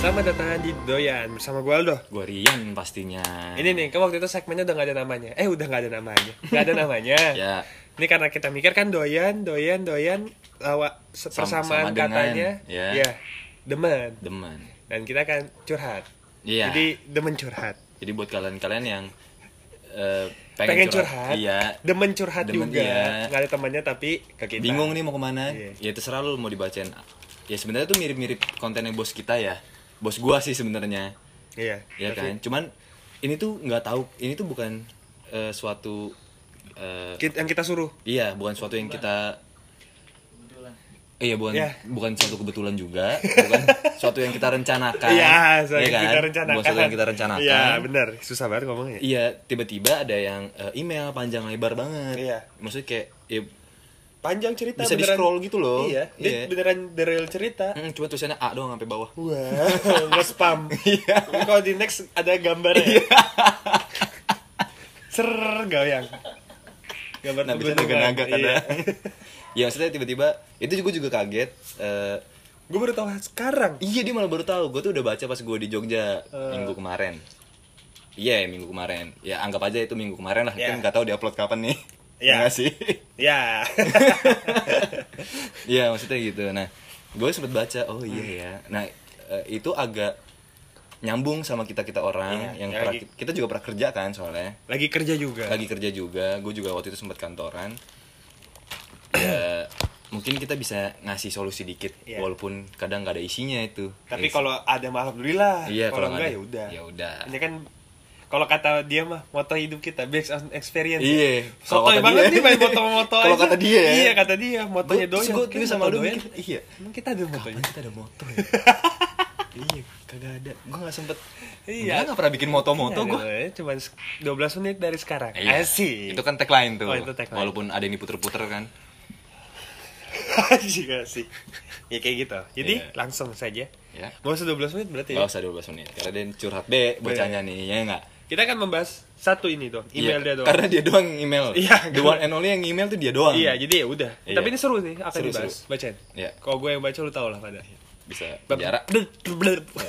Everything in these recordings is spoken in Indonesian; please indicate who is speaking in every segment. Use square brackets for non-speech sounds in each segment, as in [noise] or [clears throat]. Speaker 1: Selamat datang di Doyan bersama gue Aldo.
Speaker 2: Gue Rian pastinya.
Speaker 1: Ini nih, kan waktu itu segmennya udah gak ada namanya. Eh, udah gak ada namanya. Gak ada namanya.
Speaker 2: [laughs] Ya.
Speaker 1: Ini karena kita mikir kan doyan, doyan, doyan, lawa se-
Speaker 2: Sama-
Speaker 1: persamaan
Speaker 2: sama dengan,
Speaker 1: katanya, Iya,
Speaker 2: ya.
Speaker 1: demen.
Speaker 2: Demen.
Speaker 1: Dan kita akan curhat.
Speaker 2: Iya.
Speaker 1: Jadi demen curhat.
Speaker 2: Jadi buat kalian-kalian yang eh,
Speaker 1: Pengen,
Speaker 2: pengen,
Speaker 1: curhat,
Speaker 2: iya.
Speaker 1: demen curhat
Speaker 2: Demen,
Speaker 1: juga.
Speaker 2: iya.
Speaker 1: Gak ada temannya tapi ke kita.
Speaker 2: Bingung nih mau kemana?
Speaker 1: Iya.
Speaker 2: Ya terserah lu mau dibacain. Ya sebenarnya tuh mirip-mirip kontennya bos kita ya. Bos gua sih sebenarnya.
Speaker 1: Iya.
Speaker 2: Iya
Speaker 1: Tapi
Speaker 2: kan? Cuman ini tuh nggak tahu, ini tuh bukan eh, suatu eh,
Speaker 1: ki- yang kita suruh.
Speaker 2: iya, bukan suatu yang kita Iya bukan
Speaker 1: Iya.
Speaker 2: bukan suatu kebetulan juga, bukan
Speaker 1: [laughs]
Speaker 2: suatu yang kita rencanakan.
Speaker 1: Iya, soalnya
Speaker 2: Iya kan?
Speaker 1: kita rencanakan.
Speaker 2: Bukan suatu yang kita rencanakan.
Speaker 1: Iya, benar. Susah banget ngomongnya.
Speaker 2: Iya, tiba-tiba ada yang eh, email panjang lebar banget.
Speaker 1: Iya.
Speaker 2: Maksudnya kayak ya,
Speaker 1: Panjang cerita
Speaker 2: Bisa di-scroll gitu loh.
Speaker 1: Iya. Dia
Speaker 2: Iya.
Speaker 1: beneran the real cerita.
Speaker 2: [laughs] mm, cuma tulisannya A doang sampai bawah.
Speaker 1: [laughs] Wah, nggak spam.
Speaker 2: Iya.
Speaker 1: Tapi Kalau di next ada gambarnya. ya? [laughs] Ser goyang. Gambar
Speaker 2: Nah, bisa
Speaker 1: pegunungan.
Speaker 2: naga-naga
Speaker 1: Iya. [laughs]
Speaker 2: kadang. [laughs] ya, maksudnya tiba-tiba itu juga juga kaget. eh,
Speaker 1: Gue baru tahu sekarang.
Speaker 2: iya, dia malah baru tahu. Gue tuh udah baca pas gue di Jogja
Speaker 1: Eh.
Speaker 2: minggu kemarin. Iya, minggu kemarin. Ya, anggap aja itu minggu kemarin lah.
Speaker 1: Iya.
Speaker 2: Kan nggak tahu diupload kapan nih.
Speaker 1: [laughs] Iya.
Speaker 2: Ya nggak sih? [laughs]
Speaker 1: Ya.
Speaker 2: Iya, maksudnya gitu. Nah, gue sempet baca, oh iya
Speaker 1: Hmm.
Speaker 2: ya. Nah, eh, itu agak nyambung sama kita kita orang
Speaker 1: Iya,
Speaker 2: yang
Speaker 1: ya
Speaker 2: pernah-
Speaker 1: lagi.
Speaker 2: kita juga pernah kerja kan soalnya.
Speaker 1: [laughs] Lagi kerja juga.
Speaker 2: lagi kerja juga gue juga waktu itu sempat kantoran [clears throat] ya mungkin kita bisa ngasih solusi dikit
Speaker 1: Iya.
Speaker 2: walaupun kadang nggak ada isinya itu
Speaker 1: Tapi
Speaker 2: Is-
Speaker 1: kalau ada mah alhamdulillah.
Speaker 2: Iya,
Speaker 1: kalau
Speaker 2: kalau nggak
Speaker 1: enggak ya
Speaker 2: ada,
Speaker 1: udah.
Speaker 2: ya udah.
Speaker 1: Ini kan kalau kata dia mah moto hidup kita based on experience. ya.
Speaker 2: Iya. Kalau
Speaker 1: Sotoy
Speaker 2: kata
Speaker 1: banget
Speaker 2: dia.
Speaker 1: nih main moto-moto
Speaker 2: [laughs] Kalau
Speaker 1: aja.
Speaker 2: kata dia ya.
Speaker 1: Iya, kata dia motonya
Speaker 2: Ba-
Speaker 1: doyan.
Speaker 2: terus gue tulis sama lu
Speaker 1: doyan.
Speaker 2: mikir, iya
Speaker 1: Emang kita ada motonya.
Speaker 2: kapan kita ada motor ya [laughs] iya kagak ada gue nggak sempet
Speaker 1: Iya.
Speaker 2: iya nggak pernah bikin moto-moto
Speaker 1: Nah,
Speaker 2: gue
Speaker 1: doanya Cuma 12 menit dari sekarang. Asik.
Speaker 2: Iya. itu kan tagline tuh
Speaker 1: Oh, itu tagline.
Speaker 2: walaupun ada yang diputer-puter kan
Speaker 1: [laughs] Asik, asik. Ya kayak gitu. Jadi
Speaker 2: Iya.
Speaker 1: langsung saja.
Speaker 2: Iya.
Speaker 1: Gak usah 12 menit berarti ya.
Speaker 2: Gak usah 12 menit karena dia curhat be bacanya nih ya nggak
Speaker 1: Kita akan membahas satu ini tuh, email
Speaker 2: Iya,
Speaker 1: dia doang.
Speaker 2: karena dia doang email
Speaker 1: Iya,
Speaker 2: the
Speaker 1: karena-
Speaker 2: one and only yang email tuh dia doang
Speaker 1: Iya, jadi ya udah.
Speaker 2: Iya.
Speaker 1: Tapi ini seru nih akan
Speaker 2: Seru,
Speaker 1: dibahas.
Speaker 2: seru.
Speaker 1: Bacain.
Speaker 2: Iya.
Speaker 1: Kalau gue yang baca lu tau lah pada.
Speaker 2: bisa
Speaker 1: Bab- [laughs]
Speaker 2: penjara Iya.
Speaker 1: Blub, blub, blub.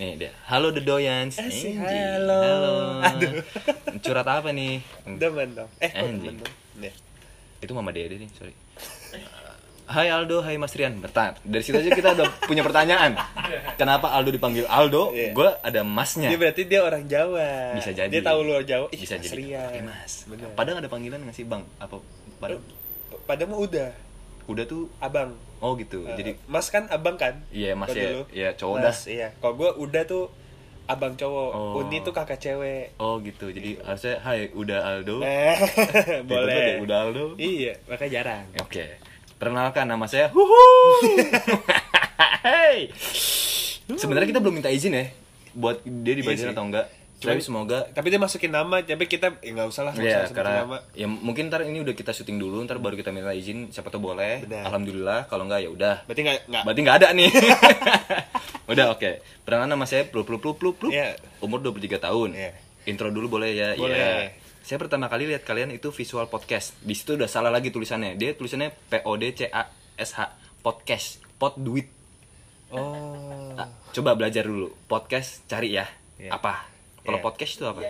Speaker 2: Nih dia, halo The Doyans
Speaker 1: Asik,
Speaker 2: Anjing.
Speaker 1: halo.
Speaker 2: [laughs]
Speaker 1: Aduh.
Speaker 2: Curhat apa nih?
Speaker 1: [laughs] Demen dong. Eh, kok
Speaker 2: Anjing. Iya.
Speaker 1: demen dong. Nih.
Speaker 2: Itu mama dede nih, sorry Eh, Hai Aldo, hai Mas Rian Bertahan, dari situ aja kita udah punya pertanyaan Kenapa Aldo dipanggil Aldo,
Speaker 1: Iya.
Speaker 2: gue ada masnya
Speaker 1: Dia berarti dia orang Jawa.
Speaker 2: Bisa jadi
Speaker 1: Dia tahu lu orang Jawa. Ih,
Speaker 2: Bisa
Speaker 1: Mas
Speaker 2: jadi
Speaker 1: Rian.
Speaker 2: Eh, mas
Speaker 1: Bener.
Speaker 2: Padahang ada panggilan gak sih Bang? Apa? Padang?
Speaker 1: Padahal mah udah
Speaker 2: Kuda tuh,
Speaker 1: abang.
Speaker 2: oh gitu
Speaker 1: Jadi
Speaker 2: Jadi
Speaker 1: Mas kan abang kan?
Speaker 2: Iya, Mas
Speaker 1: Kalau
Speaker 2: ya.
Speaker 1: dulu.
Speaker 2: Iya, cowok
Speaker 1: Mas,
Speaker 2: dah.
Speaker 1: Iya. Kalau gua udah tuh abang cowok,
Speaker 2: Oh.
Speaker 1: Uni tuh kakak cewek.
Speaker 2: Oh gitu, jadi harusnya hai udah Aldo
Speaker 1: Iya. Eh, boleh.
Speaker 2: Oh. [laughs] Tiba-tiba deh, Udah Aldo
Speaker 1: Iya, makanya jarang.
Speaker 2: Oke. Perkenalkan nama saya Huhu. Hey. Sebenarnya kita belum minta izin ya buat dia dibacain
Speaker 1: Iya sih.
Speaker 2: atau enggak.
Speaker 1: Cuman-
Speaker 2: Tapi semoga
Speaker 1: Tapi dia masukin nama, tapi kita ya nggak usah lah nggak
Speaker 2: ya
Speaker 1: usah sebutin nama.
Speaker 2: karena ya mungkin ntar ini udah kita syuting dulu ntar baru kita minta izin siapa tuh boleh
Speaker 1: Benar.
Speaker 2: alhamdulillah kalau enggak ya udah
Speaker 1: Berarti nggak nggak
Speaker 2: berarti nggak ada nih [laughs] udah oke perkenalan nama saya plup plup plup plup plup
Speaker 1: Iya.
Speaker 2: umur 23 tahun
Speaker 1: Iya.
Speaker 2: intro dulu boleh ya
Speaker 1: Boleh.
Speaker 2: Iya. saya pertama kali lihat kalian itu visual podcast di situ udah salah lagi tulisannya dia tulisannya p o d c a s h podcast pot duit
Speaker 1: Oh.
Speaker 2: Nah, coba belajar dulu podcast cari ya
Speaker 1: Iya.
Speaker 2: apa kalau
Speaker 1: Iya.
Speaker 2: podcast itu apa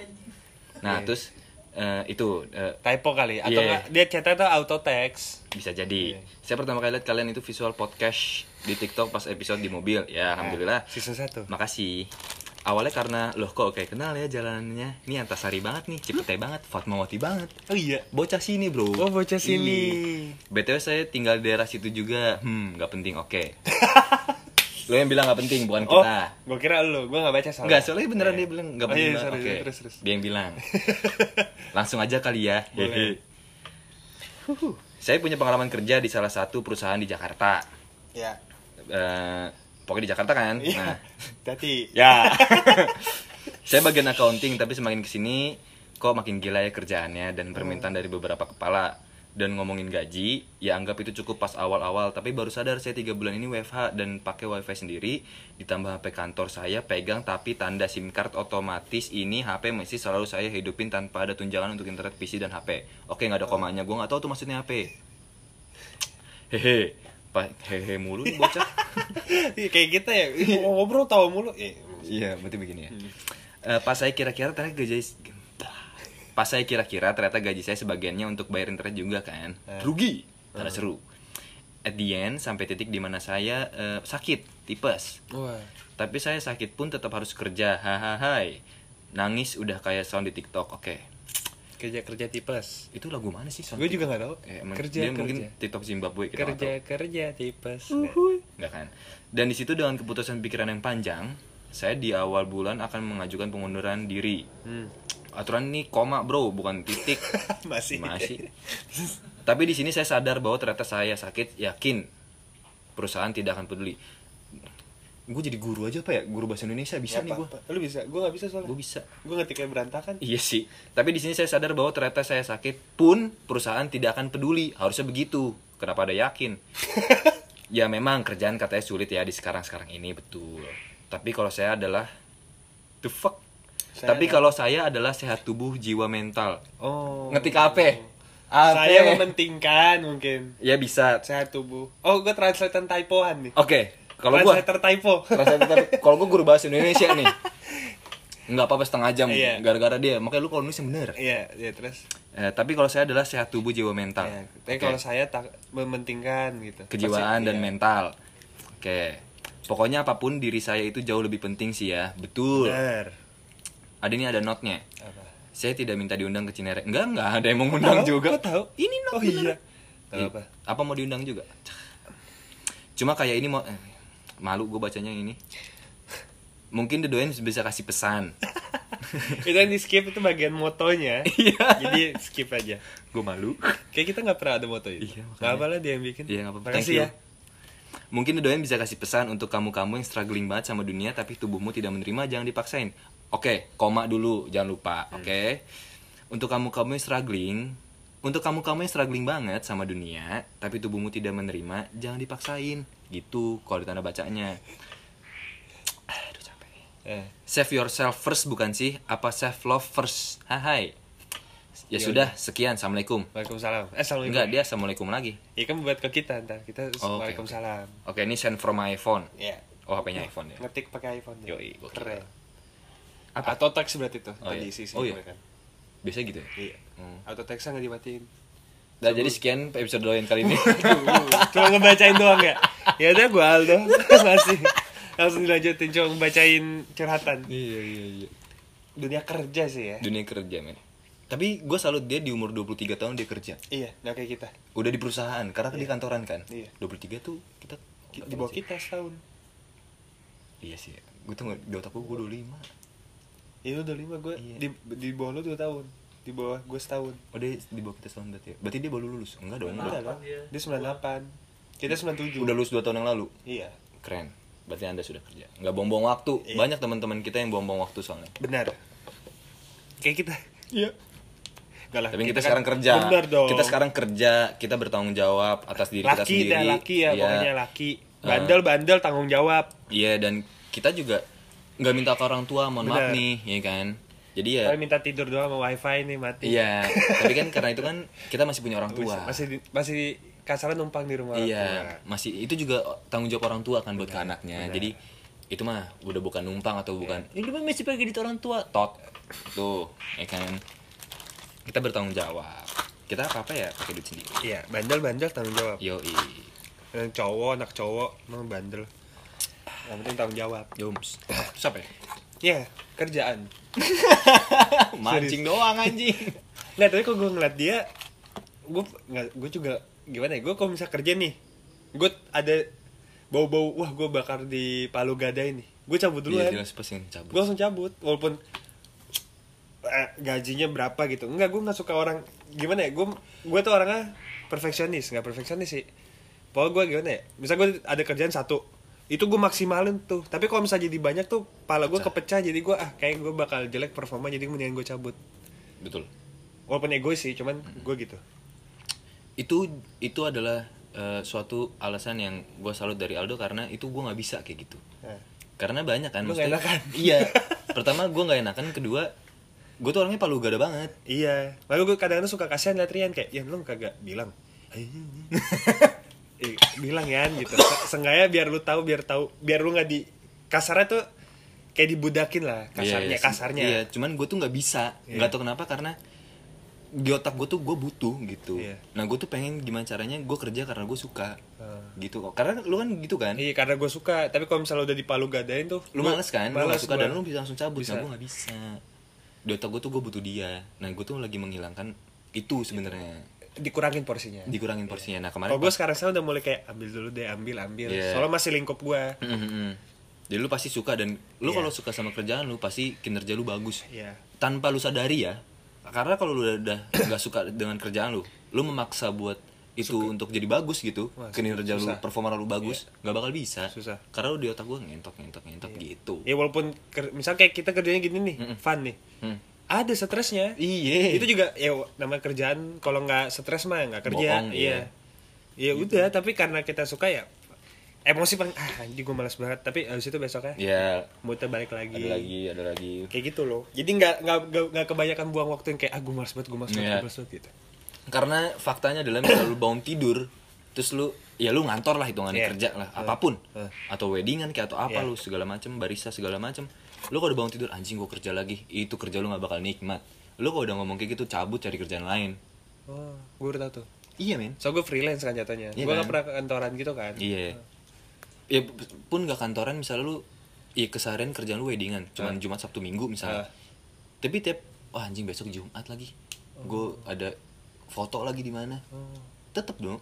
Speaker 2: nah terus eh, itu eh,
Speaker 1: Typo kali atau
Speaker 2: Iya.
Speaker 1: nggak dia chatnya tuh auto text.
Speaker 2: bisa
Speaker 1: Iya.
Speaker 2: jadi saya pertama kali lihat kalian itu visual podcast di TikTok pas episode di mobil
Speaker 1: Iya.
Speaker 2: ya alhamdulillah
Speaker 1: Season 1.
Speaker 2: Makasih. Awalnya karena loh kok kayak kenal ya jalannya. Ini Antasari banget nih, Cipete banget, Fatmawati banget.
Speaker 1: Oh iya.
Speaker 2: Bocah sini, Bro.
Speaker 1: Oh, bocah sini.
Speaker 2: Ih. BTW saya tinggal di daerah situ juga. Hmm, nggak penting, oke. Lo yang bilang nggak penting, bukan
Speaker 1: Oh,
Speaker 2: kita.
Speaker 1: gua kira lu, gua nggak baca soalnya.
Speaker 2: Enggak, soalnya beneran
Speaker 1: [laughs]
Speaker 2: dia bilang
Speaker 1: nggak
Speaker 2: nggak
Speaker 1: oh,
Speaker 2: penting.
Speaker 1: iya,
Speaker 2: banget.
Speaker 1: sorry,
Speaker 2: Oke.
Speaker 1: terus terus.
Speaker 2: Dia yang bilang. Langsung aja kali ya.
Speaker 1: Boleh.
Speaker 2: Hehe. saya punya pengalaman kerja di salah satu perusahaan di Jakarta.
Speaker 1: Ya.
Speaker 2: Eh, pokoknya di Jakarta kan.
Speaker 1: Iya.
Speaker 2: Nah,
Speaker 1: Jadi
Speaker 2: Ya. [laughs] saya bagian accounting tapi semakin kesini kok makin gila ya kerjaannya dan permintaan dari beberapa kepala. Dan ngomongin gaji, ya anggap itu cukup pas awal-awal. Tapi baru sadar saya tiga bulan ini WFH dan pakai wifi sendiri. Ditambah HP kantor saya pegang tapi tanda SIM card otomatis ini HP masih selalu saya hidupin tanpa ada tunjangan untuk internet PC dan HP. Oke nggak ada komanya, gue nggak tahu tuh maksudnya HP. Hehe, pa- hehe mulu nih bocah.
Speaker 1: Iya, kayak kita ya ih, mau ngobrol tawa mulu eh,
Speaker 2: Iya, berarti begini ya.
Speaker 1: Hmm.
Speaker 2: Eh, pas saya kira-kira ternyata gaji pas saya kira-kira ternyata gaji saya sebagiannya untuk bayar internet juga kan.
Speaker 1: Eh.
Speaker 2: Rugi. Tanda seru. At the end sampai titik di mana saya eh, sakit, tipes.
Speaker 1: wah
Speaker 2: Tapi saya sakit pun tetap harus kerja. Hahaha. Nangis udah kayak sound di TikTok. Oke.
Speaker 1: kerja kerja tipes
Speaker 2: Itu lagu mana sih sound?
Speaker 1: gue juga nggak tahu
Speaker 2: Eh, emang
Speaker 1: kerja
Speaker 2: dia
Speaker 1: kerja
Speaker 2: mungkin TikTok Zimbabwe kita nggak
Speaker 1: kerja
Speaker 2: tahu.
Speaker 1: kerja tipes
Speaker 2: Nggak kan? Dan di situ dengan keputusan pikiran yang panjang, saya di awal bulan akan mengajukan pengunduran diri.
Speaker 1: Hmm.
Speaker 2: Aturan ini koma bro, bukan titik.
Speaker 1: masih
Speaker 2: Masih. Tapi di sini saya sadar bahwa ternyata saya sakit, yakin perusahaan tidak akan peduli. Gue jadi guru aja apa ya? Guru bahasa Indonesia bisa
Speaker 1: Nggak
Speaker 2: nih gue.
Speaker 1: apa-apa. lu bisa gue nggak bisa soalnya
Speaker 2: Gue bisa.
Speaker 1: gue ngetiknya berantakan
Speaker 2: Iya sih. Tapi di sini saya sadar bahwa ternyata saya sakit pun perusahaan tidak akan peduli. Harusnya begitu. Kenapa ada
Speaker 1: [laughs]
Speaker 2: yakin? ya memang kerjaan katanya sulit ya di sekarang-sekarang ini betul. Tapi kalau saya adalah the fuck.
Speaker 1: Saya
Speaker 2: Tapi kalau saya adalah sehat tubuh, jiwa, mental.
Speaker 1: oh
Speaker 2: Ngetik apa? Apa?
Speaker 1: saya mementingkan mungkin
Speaker 2: Ya bisa.
Speaker 1: sehat tubuh oh gue translatean typoan nih
Speaker 2: Oke, kalau gua
Speaker 1: translator typo
Speaker 2: translator kalau gua guru bahasa Indonesia nih. Nggak apa-apa setengah jam
Speaker 1: Iya.
Speaker 2: gara-gara dia. Makanya lu kalau nulis yang bener.
Speaker 1: [laughs] iya iya terus
Speaker 2: Eh, tapi kalau saya adalah sehat tubuh, jiwa, mental.
Speaker 1: Ya, tapi
Speaker 2: Oke.
Speaker 1: kalau saya tak mementingkan gitu Pasti-
Speaker 2: kejiwaan dan
Speaker 1: iya.
Speaker 2: mental. Oke. Pokoknya apapun diri saya itu jauh lebih penting sih ya. Betul.
Speaker 1: Bener.
Speaker 2: Ada ini ada notnya.
Speaker 1: Apa?
Speaker 2: Saya tidak minta diundang ke Cinere. Enggak, enggak ada yang mau ngundang
Speaker 1: Tahu,
Speaker 2: juga.
Speaker 1: gua tahu.
Speaker 2: Ini not
Speaker 1: Oh iya.
Speaker 2: beneran.
Speaker 1: Gak
Speaker 2: Ih,
Speaker 1: apa.
Speaker 2: apa mau diundang juga? Cuma kayak ini mau eh, malu gue bacanya yang ini. Mungkin The Doyen bisa kasih
Speaker 1: [laughs]
Speaker 2: pesan.
Speaker 1: itu yang di skip itu bagian motonya.
Speaker 2: Iya.
Speaker 1: Jadi skip aja.
Speaker 2: gue malu.
Speaker 1: Kayak kita nggak pernah ada moto itu.
Speaker 2: Iya, makanya.
Speaker 1: Nggak apa lah dia yang bikin.
Speaker 2: Iya, nggak apa-apa. Thank
Speaker 1: Makasih
Speaker 2: you.
Speaker 1: ya.
Speaker 2: Mungkin The Doyen bisa kasih pesan untuk kamu-kamu yang struggling banget sama dunia tapi tubuhmu tidak menerima, jangan dipaksain. Oke, koma dulu, jangan lupa,
Speaker 1: Hmm.
Speaker 2: oke? Untuk kamu-kamu yang struggling, untuk kamu-kamu yang struggling banget sama dunia tapi tubuhmu tidak menerima, jangan dipaksain. Gitu kalau ditanda bacanya. Aduh capek.
Speaker 1: Eh,
Speaker 2: Save yourself first bukan sih? Apa save love first? Hai.
Speaker 1: Ya
Speaker 2: Ya, sudah, sekian. Assalamualaikum.
Speaker 1: Waalaikumsalam. Eh, Assalamualaikum.
Speaker 2: Enggak, dia assalamualaikum lagi.
Speaker 1: Iya kan buat ke kita ntar. Kita
Speaker 2: Oh, oke,
Speaker 1: Waalaikumsalam.
Speaker 2: Oke, ini send from my iPhone.
Speaker 1: Iya.
Speaker 2: Oh, HP-nya iPhone ya.
Speaker 1: Ngetik pakai iPhone. ya.
Speaker 2: Yoi, gokil.
Speaker 1: Keren.
Speaker 2: Apa?
Speaker 1: Auto text berarti tuh
Speaker 2: Oh,
Speaker 1: tadi
Speaker 2: iya.
Speaker 1: sisi
Speaker 2: Oh, iya.
Speaker 1: gue kan.
Speaker 2: Biasanya gitu ya.
Speaker 1: Iya.
Speaker 2: Hmm.
Speaker 1: Auto textnya nggak dimatiin.
Speaker 2: Nah, jadi sekian episode doain kali
Speaker 1: [laughs]
Speaker 2: ini.
Speaker 1: Cuma ngebacain doang
Speaker 2: [laughs]
Speaker 1: ya. Ya udah gue Aldo. [laughs] Masih. Langsung dilanjutin cuma ngebacain curhatan.
Speaker 2: iya, iya, iya.
Speaker 1: Dunia kerja sih ya.
Speaker 2: Dunia kerja, men. Tapi gue salut dia di umur 23 tahun dia kerja.
Speaker 1: Iya, nah kayak kita.
Speaker 2: Udah di perusahaan, karena kan di kantoran kan.
Speaker 1: Iya.
Speaker 2: 23 tuh kita ya?
Speaker 1: Ki- Di bawah kita setahun.
Speaker 2: Iya sih. Gue tuh nggak- di otak gue gue 25.
Speaker 1: Ya lu 25, gue
Speaker 2: Iya.
Speaker 1: di, di bawah lu 2 tahun. Di bawah gue setahun.
Speaker 2: Oh, dia di bawah kita setahun berarti ya. Berarti dia baru lulus. Enggak dong.
Speaker 1: Enggak
Speaker 2: Udah,
Speaker 1: dong, kan? dia 98. Kita 97.
Speaker 2: udah lulus 2 tahun yang lalu.
Speaker 1: Iya,
Speaker 2: Keren. Berarti Anda sudah kerja. Nggak buang-buang waktu.
Speaker 1: Iya.
Speaker 2: Banyak teman-teman kita yang buang-buang waktu soalnya.
Speaker 1: benar. Kayak kita. Iya. Enggak lah.
Speaker 2: Tapi kita,
Speaker 1: kan-
Speaker 2: sekarang kerja.
Speaker 1: Benar dong.
Speaker 2: Kita sekarang kerja, kita bertanggung jawab atas diri kita
Speaker 1: laki
Speaker 2: sendiri.
Speaker 1: dah laki ya,
Speaker 2: Iya. Ah.
Speaker 1: pokoknya laki. Bandel-bandel tanggung jawab.
Speaker 2: Iya dan kita juga nggak minta ke orang tua mohon
Speaker 1: Benar.
Speaker 2: maaf nih, ya kan. Jadi ya
Speaker 1: Tapi minta tidur doang sama wifi nih mati.
Speaker 2: iya, tapi kan karena itu kan kita masih punya orang tua.
Speaker 1: Masih di- masih kasaran numpang di rumah orang tua.
Speaker 2: iya, masih itu juga tanggung jawab orang tua kan buat ke anaknya. Jadi itu mah udah bukan numpang atau bukan
Speaker 1: Iya.
Speaker 2: ini mah masih pakai duit orang tua tot tuh ya kan kita bertanggung jawab kita apa apa ya pakai duit sendiri
Speaker 1: Iya, bandel-bandel tanggung jawab.
Speaker 2: yoi Iya.
Speaker 1: yang cowok anak cowok emang bandel yang penting tanggung jawab
Speaker 2: jums siapa
Speaker 1: [laughs]
Speaker 2: ya
Speaker 1: ya kerjaan
Speaker 2: mancing doang anjing
Speaker 1: nggak Nah, tapi kok gue ngeliat dia gue nggak gue juga gimana ya gue kalau misal kerja nih gue ada bau-bau wah gue bakar di palu gada ini gue cabut
Speaker 2: iya
Speaker 1: [laughs] duluan
Speaker 2: jelas pasti yang
Speaker 1: gue
Speaker 2: cabut
Speaker 1: langsung cabut walaupun eh, gajinya berapa gitu nggak gue nggak suka orang gimana ya gue gue tuh orangnya perfeksionis nggak perfeksionis sih Pokoknya gue gimana ya misal gue ada kerjaan satu itu gue maksimalin tuh tapi kalau misalnya jadi banyak tuh pala gue kepecah jadi gue ah kayak gue bakal jelek performa jadi mendingan gue cabut
Speaker 2: betul
Speaker 1: walaupun egois sih cuman gue gitu
Speaker 2: itu itu adalah eh, suatu alasan yang gue salut dari Aldo karena itu gue nggak bisa kayak gitu
Speaker 1: Nah.
Speaker 2: karena banyak kan
Speaker 1: Lu
Speaker 2: maksudnya-
Speaker 1: nggak enakan. [laughs]
Speaker 2: iya pertama gue nggak enakan kedua gue tuh orangnya palu gada banget
Speaker 1: Iya, "Ya, [laughs] lalu gue kadang-kadang suka kasihan liat Rian kayak, Rian lu kagak bilang. Eh, bilang ya gitu Se- seenggaknya biar lu tahu biar tahu biar lu nggak di kasarnya tuh kayak dibudakin lah kasarnya
Speaker 2: Iya,
Speaker 1: kasarnya
Speaker 2: Iya, cuman gue tuh nggak bisa,
Speaker 1: Iya.
Speaker 2: nggak tau kenapa karena di otak gue tuh gue butuh gitu.
Speaker 1: Iya.
Speaker 2: Nah gue tuh pengen gimana caranya gue kerja karena gue suka
Speaker 1: Hmm.
Speaker 2: gitu kok. Karena lu kan gitu kan,
Speaker 1: Iya karena gue suka, tapi kalau misalnya udah di Palu gadain tuh
Speaker 2: lu males kan, lu
Speaker 1: males
Speaker 2: nggak suka
Speaker 1: gua.
Speaker 2: dan lu bisa langsung cabut.
Speaker 1: Bisa.
Speaker 2: Nah gue nggak bisa. Di otak gue tuh gue butuh dia. Nah gue tuh lagi menghilangkan itu sebenarnya
Speaker 1: dikurangin porsinya
Speaker 2: dikurangin porsinya. Nah
Speaker 1: Iya.
Speaker 2: kemarin
Speaker 1: Kalau gue sekarang saya udah mulai kayak ambil dulu deh, ambil, ambil
Speaker 2: Iya.
Speaker 1: Soalnya masih lingkup gue
Speaker 2: Mm, mm, mm. Jadi lu pasti suka dan lu kalau suka sama kerjaan lu pasti kinerja lu bagus.
Speaker 1: Iya.
Speaker 2: Tanpa lu sadari ya. Karena kalau lu udah- udah nggak suka dengan kerjaan lu, lu memaksa buat itu untuk jadi bagus gitu.
Speaker 1: Wah,
Speaker 2: kinerja
Speaker 1: susah. Iya.
Speaker 2: lu, performa lu bagus, nggak bakal bisa.
Speaker 1: Susah.
Speaker 2: Karena lu di otak gua ngentok ngentok ngentok gitu.
Speaker 1: Ya walaupun, ker- misal kayak kita kerjanya gini nih, fun nih
Speaker 2: Mm.
Speaker 1: Ada stresnya
Speaker 2: Iya.
Speaker 1: Itu juga, ya nama kerjaan kalau nggak stres mah nggak kerja
Speaker 2: Bohong, Gitu.
Speaker 1: Iya Ya udah, tapi karena kita suka ya Emosi paling, ah anjing gue males banget Tapi abis itu besoknya
Speaker 2: Ya,
Speaker 1: moodnya balik lagi
Speaker 2: ada lagi, ada lagi.
Speaker 1: Kayak gitu loh Jadi nggak nggak nggak- nggak kebanyakan buang waktu yang kayak Ah gue males banget, gue males banget,
Speaker 2: Iya.
Speaker 1: gue males banget gitu
Speaker 2: Karena faktanya adalah misalnya lu bangun tidur, terus lu ya lu ngantor lah hitungannya
Speaker 1: Iya.
Speaker 2: kerja lah apapun
Speaker 1: Heeh.
Speaker 2: atau weddingan kayak atau apa
Speaker 1: Iya.
Speaker 2: lu segala macem barista segala macem lu kalau udah bangun tidur anjing gua kerja lagi itu kerja lu nggak bakal nikmat lu kalau udah ngomong kayak gitu cabut cari kerjaan lain
Speaker 1: Oh, gue udah tau tuh
Speaker 2: iya men
Speaker 1: So gue freelance kan jatuhnya.
Speaker 2: Iya
Speaker 1: gue gak
Speaker 2: kan?
Speaker 1: pernah ke kantoran gitu kan.
Speaker 2: iya ya p- pun gak kantoran misalnya lu ya keseharian kerjaan lu weddingan
Speaker 1: Iya.
Speaker 2: cuman jumat sabtu minggu
Speaker 1: Ah.
Speaker 2: misalnya tapi tiap wah anjing besok jumat lagi
Speaker 1: Oh.
Speaker 2: gua ada foto lagi di mana tetep dong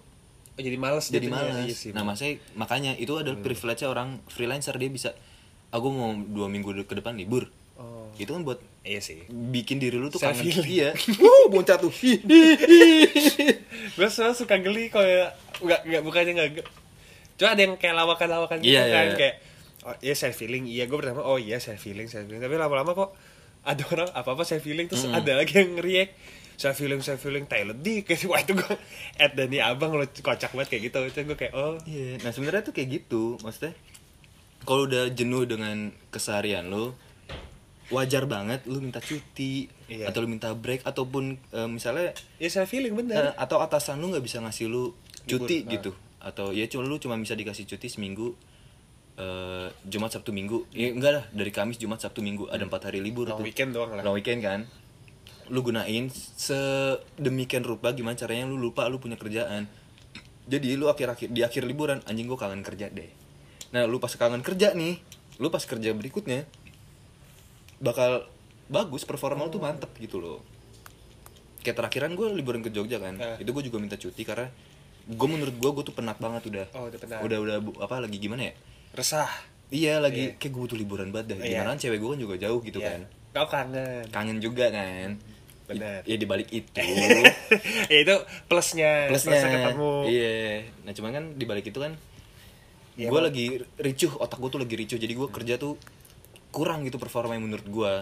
Speaker 1: Oh, jadi males
Speaker 2: jadi
Speaker 1: jatuhnya.
Speaker 2: malas.
Speaker 1: Iya sih. Hmm.
Speaker 2: nah, maksudnya makanya itu adalah privilege orang freelancer dia bisa aku mau dua minggu de- ke depan libur.
Speaker 1: Oh.
Speaker 2: Itu kan buat
Speaker 1: Iya sih.
Speaker 2: bikin diri lu tuh
Speaker 1: Self
Speaker 2: kangen Iya.
Speaker 1: healing. [laughs]
Speaker 2: dia. Wuh, boncat tuh. Hi, hi, hi.
Speaker 1: Gue selalu suka geli kalau ya, nggak nggak bukannya nggak. ge- Cuma ada yang kayak lawakan-lawakan gitu
Speaker 2: Iya, iya,
Speaker 1: kan
Speaker 2: iya.
Speaker 1: kayak oh, iya saya feeling iya gue pertama oh iya saya feeling saya feeling tapi lama-lama kok ada orang apa-apa saya feeling terus ada lagi yang react saya feeling saya feeling Thailand di [laughs] kayak wah itu gue at Dani abang lo kocak banget kayak gitu itu gue kayak oh
Speaker 2: Iya, Nah, sebenarnya tuh kayak gitu. Maksudnya kalau udah jenuh dengan keseharian lu, wajar banget lu minta cuti
Speaker 1: Iya.
Speaker 2: atau lu minta break ataupun eh, misalnya
Speaker 1: iya saya feeling bener nah.
Speaker 2: Eh, atau atasan lu nggak bisa ngasih lu cuti gitu atau ya cuma lu cuma bisa dikasih cuti seminggu eh, Jumat Sabtu Minggu ya enggak lah dari Kamis Jumat Sabtu Minggu ada empat hari libur
Speaker 1: Iya. Long
Speaker 2: tuh.
Speaker 1: weekend doang lah.
Speaker 2: long weekend kan lu gunain sedemikian rupa gimana caranya lu lupa lu punya kerjaan jadi lu akhir-akhir di akhir liburan anjing gua kangen kerja deh nah lu pas kangen kerja nih lu pas kerja berikutnya bakal bagus performa lu tuh mantep gitu loh kayak terakhiran gue liburan ke Jogja kan
Speaker 1: Eh.
Speaker 2: itu gue juga minta cuti karena gue menurut gue gue tuh penat banget udah
Speaker 1: Oh, udah penat.
Speaker 2: udah udah bu- apa lagi gimana ya
Speaker 1: resah
Speaker 2: iya lagi kayak gue butuh liburan banget dah
Speaker 1: Iya.
Speaker 2: gimana kan cewek gue kan juga jauh gitu
Speaker 1: Iya.
Speaker 2: kan
Speaker 1: kau kangen [laughs]
Speaker 2: kangen juga kan
Speaker 1: Benar.
Speaker 2: ya dibalik itu
Speaker 1: [laughs] ya itu plusnya
Speaker 2: plusnya
Speaker 1: plusnya ketemu
Speaker 2: iya nah cuman kan dibalik itu kan
Speaker 1: Iya,
Speaker 2: gue lagi ricuh otak gue tuh lagi ricuh jadi gue kerja tuh kurang gitu performa yang menurut gue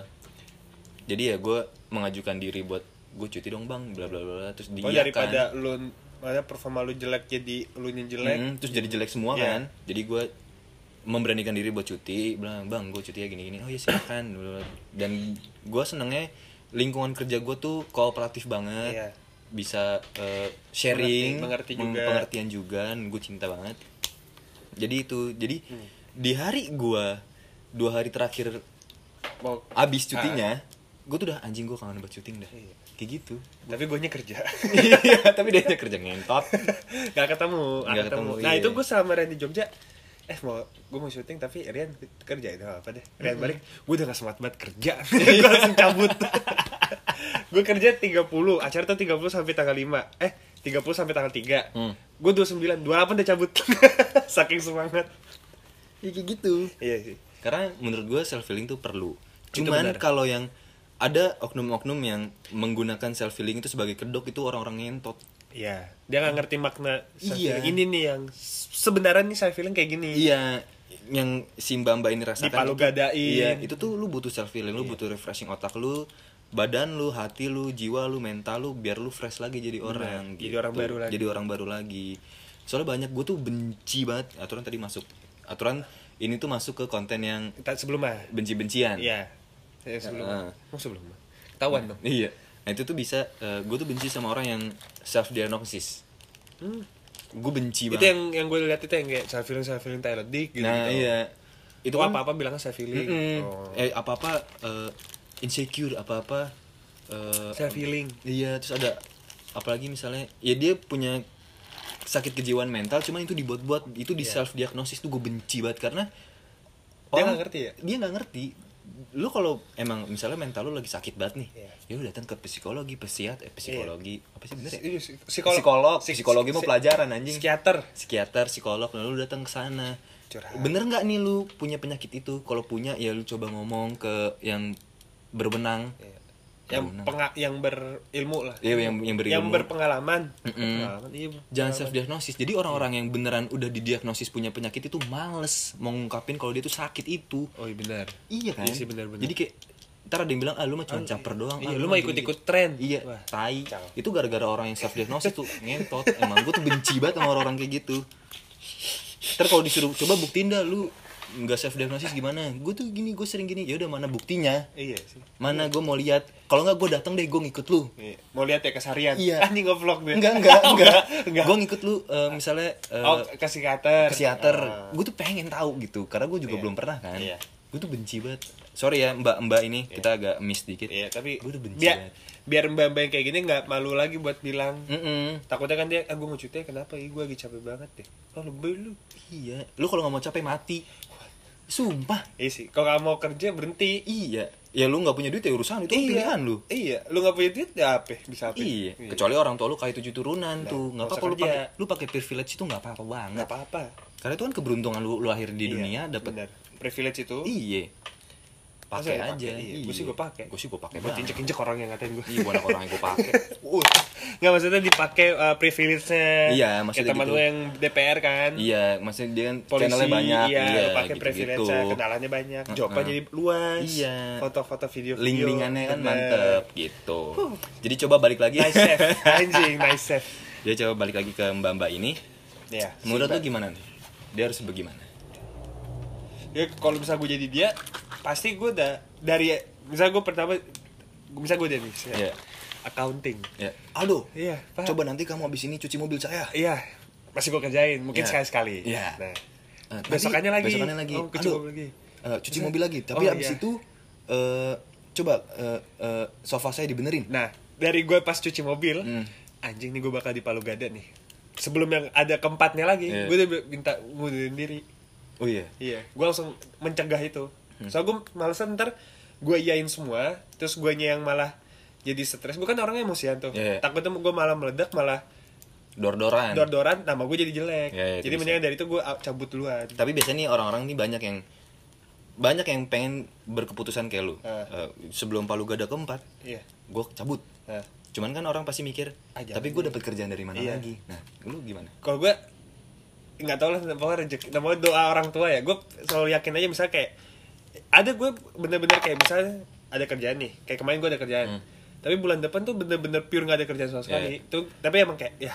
Speaker 2: jadi ya gue mengajukan diri buat gue cuti dong bang bla bla bla terus
Speaker 1: oh,
Speaker 2: diiyakan
Speaker 1: daripada
Speaker 2: kan.
Speaker 1: lu mana performa lu jelek jadi lu nya jelek
Speaker 2: Mm, terus jadi jelek semua
Speaker 1: Iya.
Speaker 2: kan jadi gue memberanikan diri buat cuti bilang bang gue cuti ya gini gini oh ya silakan dan gue senengnya lingkungan kerja gue tuh kooperatif banget
Speaker 1: Iya.
Speaker 2: bisa eh, sharing
Speaker 1: Mengerti- mengerti
Speaker 2: meng-
Speaker 1: juga.
Speaker 2: pengertian juga gue cinta banget jadi itu jadi
Speaker 1: Hmm.
Speaker 2: di hari gue dua hari terakhir
Speaker 1: mau
Speaker 2: abis
Speaker 1: Ah.
Speaker 2: cutinya gue tuh udah anjing gue kangen buat syuting dah
Speaker 1: Iya.
Speaker 2: kayak gitu [laughs]
Speaker 1: tapi gue kerja [laughs]
Speaker 2: Iya, tapi dia kerja ngentot
Speaker 1: nggak ketemu nggak
Speaker 2: Nggak
Speaker 1: ketemu,
Speaker 2: ketemu,
Speaker 1: nah
Speaker 2: iya.
Speaker 1: itu gue sama Rian di Jogja eh mau gue mau syuting tapi Rian kerja itu apa deh Rian balik gue udah gak semangat banget
Speaker 2: [laughs]
Speaker 1: kerja gue langsung cabut [laughs] gue kerja 30 acara tuh 30 sampai tanggal 5 eh 30 sampai tanggal 3
Speaker 2: Hmm.
Speaker 1: gue 29 28 udah cabut [laughs] saking semangat
Speaker 2: ya, kayak gitu
Speaker 1: iya sih
Speaker 2: Karena menurut gue self healing tuh perlu.
Speaker 1: Itu
Speaker 2: Cuman
Speaker 1: benar.
Speaker 2: kalau yang ada oknum-oknum yang menggunakan self healing itu sebagai kedok itu orang-orang ngentot.
Speaker 1: Iya, dia nggak ngerti makna self
Speaker 2: Iya.
Speaker 1: feeling. Ini nih yang s- sebenarnya nih self feeling kayak gini.
Speaker 2: Iya, yang si Mbak Mbak ini rasakan.
Speaker 1: Dipalu
Speaker 2: itu-
Speaker 1: gadain. Iya.
Speaker 2: Iya, itu tuh lu butuh self healing, lu butuh refreshing otak lu, badan lu, hati lu, jiwa lu, mental lu, biar lu fresh lagi jadi orang. gitu.
Speaker 1: jadi orang baru lagi.
Speaker 2: Jadi orang baru lagi. Soalnya banyak gue tuh benci banget aturan tadi masuk. Aturan ini tuh masuk ke konten yang
Speaker 1: Kita sebelumnya.
Speaker 2: benci-bencian.
Speaker 1: Iya. Saya sebelum.
Speaker 2: Heeh.
Speaker 1: Mau sebelum. Ketahuan dong.
Speaker 2: eh, Iya. Nah itu tuh bisa, gue tuh benci sama orang yang self diagnosis. gue benci
Speaker 1: Hmm. itu
Speaker 2: banget
Speaker 1: yang yang gue lihat itu yang kayak self feeling self feeling Tyler Dick gitu
Speaker 2: nah iya
Speaker 1: itu
Speaker 2: itu kan-
Speaker 1: apa apa bilangnya self feeling
Speaker 2: Mm-mm.
Speaker 1: oh.
Speaker 2: eh apa apa insecure apa apa
Speaker 1: self feeling
Speaker 2: Iya, terus ada apalagi misalnya ya dia punya sakit kejiwaan mental, cuman itu dibuat-buat, itu di self diagnosis tuh gue benci banget karena
Speaker 1: Dia Iya.
Speaker 2: orang-
Speaker 1: nggak ngerti ya?
Speaker 2: Dia nggak ngerti. Lu kalau emang misalnya mental lu lagi sakit banget nih,
Speaker 1: Iya.
Speaker 2: ya lu datang ke psikologi, psikiat, eh, psikologi, apa sih bener ya?
Speaker 1: Iya. Psikolog.
Speaker 2: psikolog,
Speaker 1: Psik-
Speaker 2: psikologi mau
Speaker 1: psik-
Speaker 2: pelajaran anjing.
Speaker 1: psikiater
Speaker 2: Psikiater, psikolog, nah lu datang ke sana.
Speaker 1: Curhat.
Speaker 2: Bener nggak nih lu punya penyakit itu? Kalau punya ya lu coba ngomong ke yang berwenang.
Speaker 1: Iya. yang
Speaker 2: Berwenang.
Speaker 1: penga- yang berilmu lah
Speaker 2: Iya, yang- yang berilmu.
Speaker 1: berpengalaman
Speaker 2: Mm-mm.
Speaker 1: Berpengalaman, iya,
Speaker 2: Jangan
Speaker 1: pengalaman.
Speaker 2: self diagnosis. Jadi orang-orang yang beneran udah didiagnosis punya penyakit itu males mau ngungkapin kalau dia tuh sakit itu.
Speaker 1: oh iya benar
Speaker 2: Iya kan?
Speaker 1: Iya sih, benar-benar.
Speaker 2: Jadi kayak ntar ada yang bilang ah lu mah cuma caper doang.
Speaker 1: iya,
Speaker 2: ah,
Speaker 1: lu mah
Speaker 2: gini-gini."
Speaker 1: ikut-ikut tren.
Speaker 2: Iya,
Speaker 1: Wah,
Speaker 2: tai.
Speaker 1: kacau.
Speaker 2: Itu gara-gara orang yang self diagnosis tuh ngentot. Emang gue tuh benci banget sama orang-orang kayak gitu. Ntar kalau disuruh coba buktiin dah lu nggak self diagnosis gimana? Gue tuh gini, gue sering gini. Ya udah mana buktinya?
Speaker 1: iya sih
Speaker 2: Mana gue mau lihat? Kalau nggak gue datang deh gue ngikut lu.
Speaker 1: Iya. mau lihat ya kesarian
Speaker 2: Iya.
Speaker 1: [laughs] ah nih ngevlog deh
Speaker 2: Enggak,
Speaker 1: [laughs]
Speaker 2: enggak,
Speaker 1: Oh,
Speaker 2: enggak.
Speaker 1: enggak.
Speaker 2: Gue ngikut lu eh, misalnya eh,
Speaker 1: oh ke psikiater
Speaker 2: ke psikiater
Speaker 1: Ah.
Speaker 2: gue tuh pengen tahu gitu karena gue juga
Speaker 1: Iya.
Speaker 2: belum pernah kan
Speaker 1: Iya.
Speaker 2: gue tuh benci banget sorry ya mbak mbak ini kita agak miss dikit
Speaker 1: Iya, tapi
Speaker 2: gue tuh benci ya.
Speaker 1: biar
Speaker 2: banget
Speaker 1: biar mbak-mbak yang kayak gini nggak malu lagi buat bilang.
Speaker 2: Mm-mm.
Speaker 1: Takutnya kan dia, ah gue mau cuti kenapa? Ih, gue lagi capek banget deh. Oh, lebih lu.
Speaker 2: iya lu kalau nggak mau capek mati sumpah
Speaker 1: Iya sih, kalau nggak mau kerja berhenti.
Speaker 2: iya ya lu nggak punya duit ya urusan itu pilihan lu
Speaker 1: Iya, lu nggak punya duit ya apa? Bisa apa?
Speaker 2: iya kecuali orang tua lu kayak tujuh turunan tuh
Speaker 1: nggak
Speaker 2: nggak apa-apa lu
Speaker 1: usah kerja.
Speaker 2: pakai lu pakai privilege itu nggak apa-apa banget
Speaker 1: nggak apa-apa.
Speaker 2: karena itu kan keberuntungan lu lu lahir di
Speaker 1: Iya,
Speaker 2: dunia dapat
Speaker 1: benar. privilege itu.
Speaker 2: iya pakai
Speaker 1: Masa
Speaker 2: aja
Speaker 1: nggak pakai? Iya, gua sih gua pakai.
Speaker 2: gue sih gue pakai
Speaker 1: Buat
Speaker 2: banget
Speaker 1: injek-injek orang yang ngatain gue. [laughs]
Speaker 2: iya banyak orang yang gue pakai
Speaker 1: Nggak maksudnya dipakai uh, privilege-nya.
Speaker 2: Iya,
Speaker 1: Kayak
Speaker 2: maksudnya
Speaker 1: teman
Speaker 2: gitu.
Speaker 1: lu yang DPR kan.
Speaker 2: Iya, maksudnya dia kan
Speaker 1: Polisi,
Speaker 2: channelnya banyak,
Speaker 1: iya, lu pakai
Speaker 2: gitu-gitu.
Speaker 1: privilege kenalannya banyak, jawabannya jadi luas,
Speaker 2: Iya.
Speaker 1: foto-foto video-video,
Speaker 2: Link-linkannya kan
Speaker 1: bener.
Speaker 2: mantep gitu. Jadi coba balik lagi.
Speaker 1: iya, nice
Speaker 2: [laughs]
Speaker 1: chef anjing nice chef
Speaker 2: dia coba balik lagi ke Mbak Mbak ini.
Speaker 1: ya
Speaker 2: Menurut lu gimana nih? Dia harus bagaimana?
Speaker 1: ya kalau misalnya gue jadi dia pasti gue udah dari misalnya gue pertama misalnya gue Dennis
Speaker 2: Iya.
Speaker 1: ya. accounting
Speaker 2: Ya. Eh, Aldo.
Speaker 1: Iya, Pak.
Speaker 2: Coba nanti kamu habis ini cuci mobil saya.
Speaker 1: iya masih gue kerjain mungkin
Speaker 2: Iya.
Speaker 1: sekali sekali
Speaker 2: Iya.
Speaker 1: nah,
Speaker 2: Eh, nanti
Speaker 1: besokannya lagi
Speaker 2: Besokannya lagi.
Speaker 1: oh, cuci
Speaker 2: Aldo,
Speaker 1: mobil lagi
Speaker 2: eh, cuci mobil lagi. Tapi
Speaker 1: Oh,
Speaker 2: habis
Speaker 1: iya.
Speaker 2: itu eh, coba eh, eh, sofa saya dibenerin.
Speaker 1: nah dari gue pas cuci mobil
Speaker 2: Hmm.
Speaker 1: anjing nih gue bakal di Palu Gada nih sebelum yang ada keempatnya lagi
Speaker 2: Iya.
Speaker 1: gue udah minta ngundurin diri
Speaker 2: Oh iya.
Speaker 1: Iya, gue langsung mencegah itu.
Speaker 2: Hmm.
Speaker 1: Soalnya gue malesan ntar gue iyain semua, terus gue yang malah jadi stres. Gue kan orangnya emosian tuh.
Speaker 2: Iya, iya.
Speaker 1: Takutnya gue malah meledak, malah
Speaker 2: Dor-doran.
Speaker 1: dor-doran, nama gue jadi jelek.
Speaker 2: Iya, iya,
Speaker 1: jadi
Speaker 2: itu bisa.
Speaker 1: mendingan dari itu gue cabut duluan.
Speaker 2: tapi biasanya nih orang-orang nih banyak yang banyak yang pengen berkeputusan kayak lu
Speaker 1: Ah.
Speaker 2: Eh, sebelum palu gada keempat
Speaker 1: Iya.
Speaker 2: gue cabut
Speaker 1: Nah,
Speaker 2: cuman kan orang pasti mikir
Speaker 1: Ah, jangan
Speaker 2: tapi gue dapat kerjaan dari mana
Speaker 1: Iya.
Speaker 2: lagi nah lu gimana
Speaker 1: kalau gue nggak tau lah namanya rezeki, namanya doa orang tua ya. Gue selalu yakin aja misalnya kayak ada gue bener-bener kayak misalnya ada kerjaan nih. Kayak kemarin gue ada kerjaan. Tapi bulan depan tuh bener-bener pure nggak ada kerjaan sama sekali.
Speaker 2: Hmm. Iya, Hmm.
Speaker 1: Tuh, tapi emang kayak ya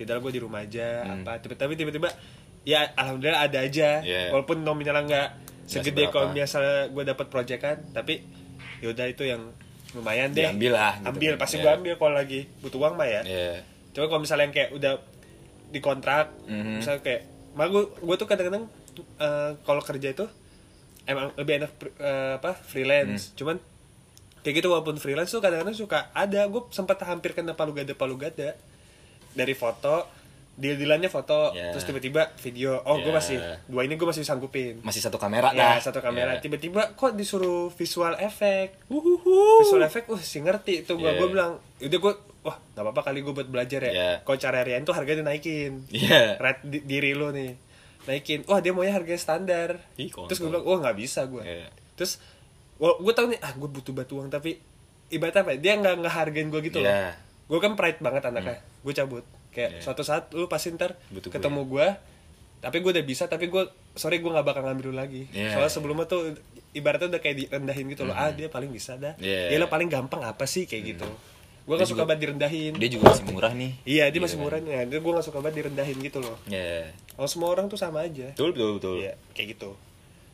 Speaker 1: tidak gue di rumah aja apa tiba tapi tiba-tiba ya alhamdulillah ada aja
Speaker 2: Iya.
Speaker 1: walaupun nominalnya nggak segede
Speaker 2: seberapa.
Speaker 1: kalau misalnya gue dapat proyek kan tapi yaudah itu yang lumayan deh
Speaker 2: Diambil lah, gitu.
Speaker 1: ambil pasti
Speaker 2: Iya.
Speaker 1: gue ambil kalau lagi butuh uang mah ya
Speaker 2: ya
Speaker 1: Coba kalau misalnya yang kayak udah dikontrak,
Speaker 2: Mhm.
Speaker 1: misalnya kayak, mah gue tuh kadang-kadang eh, kalau kerja itu emang lebih enak pr- eh, apa freelance.
Speaker 2: Mhm.
Speaker 1: Cuman kayak gitu walaupun freelance tuh kadang-kadang suka ada gue sempat hampir kena palu gada palu gada dari foto deal-dealannya foto
Speaker 2: Ya.
Speaker 1: terus tiba-tiba video oh gue
Speaker 2: Ya.
Speaker 1: masih dua ini gue masih sanggupin
Speaker 2: masih satu kamera
Speaker 1: ya
Speaker 2: dah.
Speaker 1: satu kamera
Speaker 2: Ya.
Speaker 1: tiba-tiba kok disuruh visual effect
Speaker 2: Wuhuhu.
Speaker 1: visual effect uh sih ngerti itu gua
Speaker 2: Iya.
Speaker 1: gua bilang udah gua wah nggak apa-apa kali gua buat belajar ya
Speaker 2: Iya.
Speaker 1: kalau cara Rian tuh harganya dinaikin
Speaker 2: Iya.
Speaker 1: Red di- diri lo nih naikin wah dia maunya harganya standar
Speaker 2: Ih, kontol.
Speaker 1: terus gua bilang wah nggak bisa gua
Speaker 2: Iya.
Speaker 1: terus wah, gua tau nih ah gua butuh batu uang tapi ibarat apa ya, dia nggak ngehargain gua gitu
Speaker 2: Iya. Hmm.
Speaker 1: loh gua kan pride banget anaknya gua cabut kayak
Speaker 2: Iya.
Speaker 1: suatu saat lu pasti ntar
Speaker 2: Butuh gua. ya.
Speaker 1: ketemu gua tapi gua udah bisa tapi gua sorry gua nggak bakal ngambil lu lagi
Speaker 2: Iya. Hmm.
Speaker 1: soalnya sebelumnya tuh ibaratnya udah kayak direndahin gitu loh ah dia paling bisa dah
Speaker 2: Iya. Hmm.
Speaker 1: dia lah paling gampang apa sih kayak gitu gue
Speaker 2: Dia
Speaker 1: gak suka
Speaker 2: juga-
Speaker 1: banget direndahin
Speaker 2: dia juga masih murah nih
Speaker 1: iya dia
Speaker 2: Gitu
Speaker 1: masih
Speaker 2: kan.
Speaker 1: murah ya gue gak suka banget direndahin gitu loh
Speaker 2: ya
Speaker 1: kalau Oh, semua orang tuh sama aja
Speaker 2: betul betul betul
Speaker 1: iya kayak gitu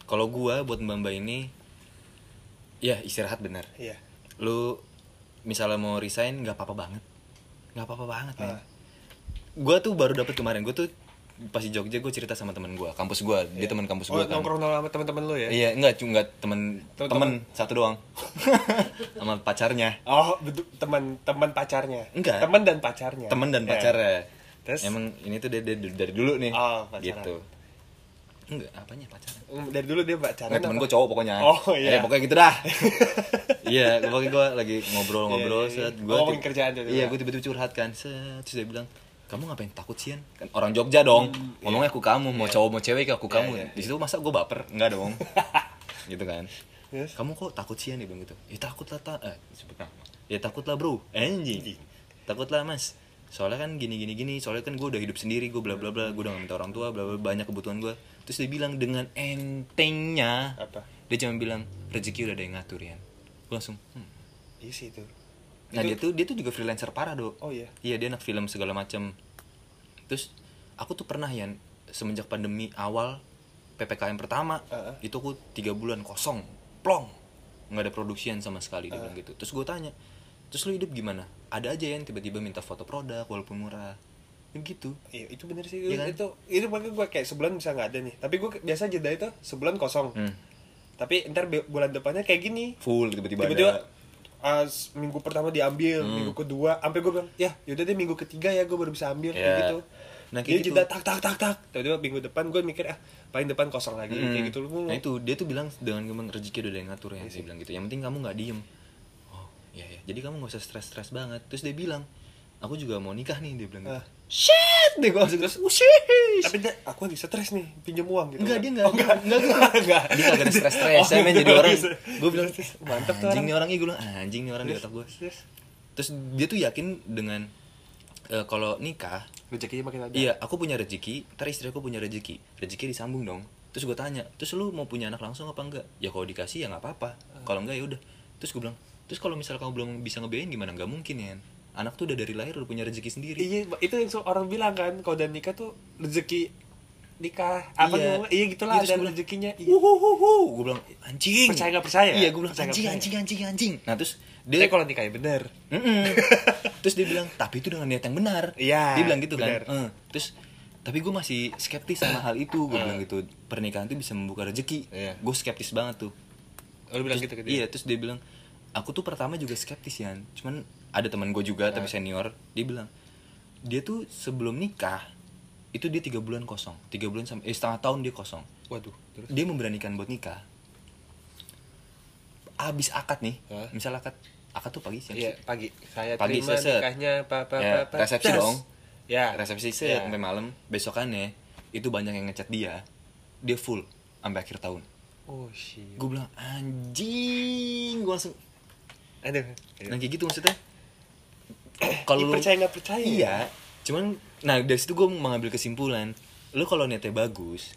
Speaker 2: kalau gua buat mbak mbak ini ya istirahat benar
Speaker 1: iya
Speaker 2: lu misalnya mau resign nggak apa-apa banget nggak apa-apa banget men
Speaker 1: Ah.
Speaker 2: gue tuh baru dapet kemarin gue tuh pas di Jogja gue cerita sama teman gue kampus gue dia teman kampus
Speaker 1: Oh,
Speaker 2: gue kan
Speaker 1: nongkrong sama teman-teman lu ya?
Speaker 2: iya enggak cuma enggak temen temen satu
Speaker 1: [laughs]
Speaker 2: doang sama pacarnya
Speaker 1: Oh, betul teman-teman pacarnya.
Speaker 2: Enggak.
Speaker 1: Teman dan pacarnya.
Speaker 2: temen dan
Speaker 1: Ya.
Speaker 2: pacarnya
Speaker 1: Terus?
Speaker 2: emang ini tuh dari, dari, dari dulu nih
Speaker 1: Oh, pacaran.
Speaker 2: gitu enggak apanya pacaran
Speaker 1: Mm, Dari dulu dia pacaran.
Speaker 2: Nggak, temen
Speaker 1: apa?
Speaker 2: gue cowok pokoknya
Speaker 1: Oh, iya.
Speaker 2: Eh, pokoknya gitu
Speaker 1: [laughs]
Speaker 2: dah Iya, pokoknya gue lagi ngobrol-ngobrol
Speaker 1: Iya, iya, iya.
Speaker 2: set gua
Speaker 1: Ngomongin
Speaker 2: ti-
Speaker 1: kerjaan ya. tiba-tiba.
Speaker 2: Iya, gue tiba-tiba curhat kan set, Terus dia bilang, kamu ngapain takut Sian? Kan orang Jogja dong Ngomongnya aku kamu, mau cowok mau cewek aku kamu
Speaker 1: Hmm, iya,
Speaker 2: Di situ masa gue baper? Enggak
Speaker 1: [laughs]
Speaker 2: dong Gitu kan
Speaker 1: Terus?
Speaker 2: Kamu kok takut Sian? Dia bilang gitu Ya takut lah, ta eh, sebut nama.
Speaker 1: Iya.
Speaker 2: Ya takut lah bro, anjing Takut lah mas soalnya kan gini gini gini soalnya kan gue udah hidup sendiri gue bla bla bla gue udah gak minta orang tua bla bla bla, banyak kebutuhan gue terus dia bilang dengan entengnya
Speaker 1: Apa?
Speaker 2: dia cuma bilang rezeki udah ada yang ngatur ya gue langsung hmm.
Speaker 1: Iya sih itu.
Speaker 2: nah dia tuh dia tuh juga freelancer parah do
Speaker 1: Oh, iya?
Speaker 2: iya dia anak film segala macam terus aku tuh pernah ya semenjak pandemi awal ppkm pertama
Speaker 1: Heeh.
Speaker 2: itu aku tiga bulan kosong plong nggak ada produksian sama sekali dia bilang gitu terus gue tanya terus lu hidup gimana ada aja yang tiba-tiba minta foto produk walaupun murah gitu. begitu
Speaker 1: Iya, itu bener sih.
Speaker 2: Iya kan?
Speaker 1: Itu itu makanya gue kayak sebulan bisa nggak ada nih. Tapi gue biasa jeda itu sebulan kosong.
Speaker 2: Hmm.
Speaker 1: Tapi ntar be- bulan depannya kayak gini.
Speaker 2: full tiba-tiba,
Speaker 1: Tiba-tiba
Speaker 2: ada
Speaker 1: uh, s- minggu pertama diambil,
Speaker 2: Hmm.
Speaker 1: minggu kedua, sampai gue bilang, ya yaudah deh minggu ketiga ya gue baru bisa ambil kayak
Speaker 2: Ya.
Speaker 1: gitu. Nah,
Speaker 2: Nah, kayak gitu.
Speaker 1: jeda tak tak tak tak. Tiba-tiba minggu depan gue mikir ah paling depan kosong lagi
Speaker 2: Mm.
Speaker 1: kayak gitu lu.
Speaker 2: Nah itu dia tuh bilang dengan memang rezeki udah ada yang ngatur ya. Dia bilang gitu. Yang penting kamu nggak diem. Oh iya ya. Jadi kamu nggak usah stres-stres banget. Terus dia bilang, aku juga mau nikah nih. Dia bilang gitu.
Speaker 1: Ah.
Speaker 2: Shit, dia gua langsung terus, oh shit.
Speaker 1: Tapi dia, aku lagi stres nih, pinjam uang gitu.
Speaker 2: Enggak, dia enggak.
Speaker 1: Oh, enggak.
Speaker 2: Enggak,
Speaker 1: [laughs]
Speaker 2: enggak.
Speaker 1: Enggak.
Speaker 2: Dia kagak ada stres-stres.
Speaker 1: Oh,
Speaker 2: Saya main jadi
Speaker 1: enggak
Speaker 2: orang.
Speaker 1: bisa.
Speaker 2: Gue bilang,
Speaker 1: Mantep tuh
Speaker 2: anjing
Speaker 1: orang.
Speaker 2: nih orangnya. Gue bilang, "Ah, anjing nih orang di
Speaker 1: Terus-
Speaker 2: otak gue.
Speaker 1: terus
Speaker 2: Terus dia tuh yakin dengan eh, kalau nikah,
Speaker 1: rezekinya makin ada.
Speaker 2: Iya, aku punya rezeki, ntar istri aku punya rezeki. Rezeki disambung dong. Terus gue tanya, terus lu mau punya anak langsung apa enggak? Ya kalau dikasih ya nggak apa-apa.
Speaker 1: Hmm.
Speaker 2: Kalau enggak ya udah. Terus gue bilang, terus kalau misal kamu belum bisa ngebiayain gimana? Nggak mungkin ya. Anak tuh udah dari lahir udah punya rezeki sendiri.
Speaker 1: Iya, itu yang so- orang bilang kan, kalau udah nikah tuh rezeki nikah apa
Speaker 2: Iya.
Speaker 1: namanya? Iya gitulah
Speaker 2: Iya, terus
Speaker 1: ada
Speaker 2: gua bilang,
Speaker 1: rezekinya. Iya.
Speaker 2: Wuhuhuhu, gue bilang anjing.
Speaker 1: Percaya nggak percaya?
Speaker 2: Iya, gue bilang
Speaker 1: Percaya nggak
Speaker 2: anjing,
Speaker 1: percaya?
Speaker 2: anjing, anjing, anjing. Nah terus
Speaker 1: Eh
Speaker 2: dia
Speaker 1: kalau nikahnya bener. [laughs]
Speaker 2: Mm-mm. terus dia bilang tapi itu dengan niat yang benar
Speaker 1: Iya,
Speaker 2: dia bilang gitu
Speaker 1: benar.
Speaker 2: kan Eh, terus tapi gue masih skeptis sama hal itu gue bilang gitu pernikahan tuh bisa membuka rezeki
Speaker 1: Iya.
Speaker 2: gue skeptis banget tuh
Speaker 1: Oh, lu bilang gitu ke dia?
Speaker 2: iya terus dia bilang aku tuh pertama juga skeptis ya cuman ada teman gue juga
Speaker 1: Nah.
Speaker 2: tapi senior dia bilang dia tuh sebelum nikah itu dia tiga bulan kosong tiga bulan sampai eh, setengah tahun dia kosong
Speaker 1: Waduh, terus
Speaker 2: dia memberanikan buat nikah abis akad nih
Speaker 1: Hah?
Speaker 2: misal akad akad tuh pagi siang
Speaker 1: Iya,
Speaker 2: sih?
Speaker 1: pagi saya
Speaker 2: Pagi
Speaker 1: terima
Speaker 2: seset.
Speaker 1: nikahnya apa apa
Speaker 2: Ya,
Speaker 1: apa.
Speaker 2: resepsi
Speaker 1: Tes.
Speaker 2: dong.
Speaker 1: Ya.
Speaker 2: resepsi set
Speaker 1: Ya.
Speaker 2: sampai malam besokannya itu banyak yang ngechat dia dia full sampai akhir tahun
Speaker 1: Oh shit.
Speaker 2: gue bilang anjing gue langsung
Speaker 1: Aduh.
Speaker 2: nah kayak gitu maksudnya [clears throat]
Speaker 1: Ih,
Speaker 2: lu-
Speaker 1: percaya nggak percaya
Speaker 2: iya cuman nah dari situ gue mengambil kesimpulan lu kalau niatnya bagus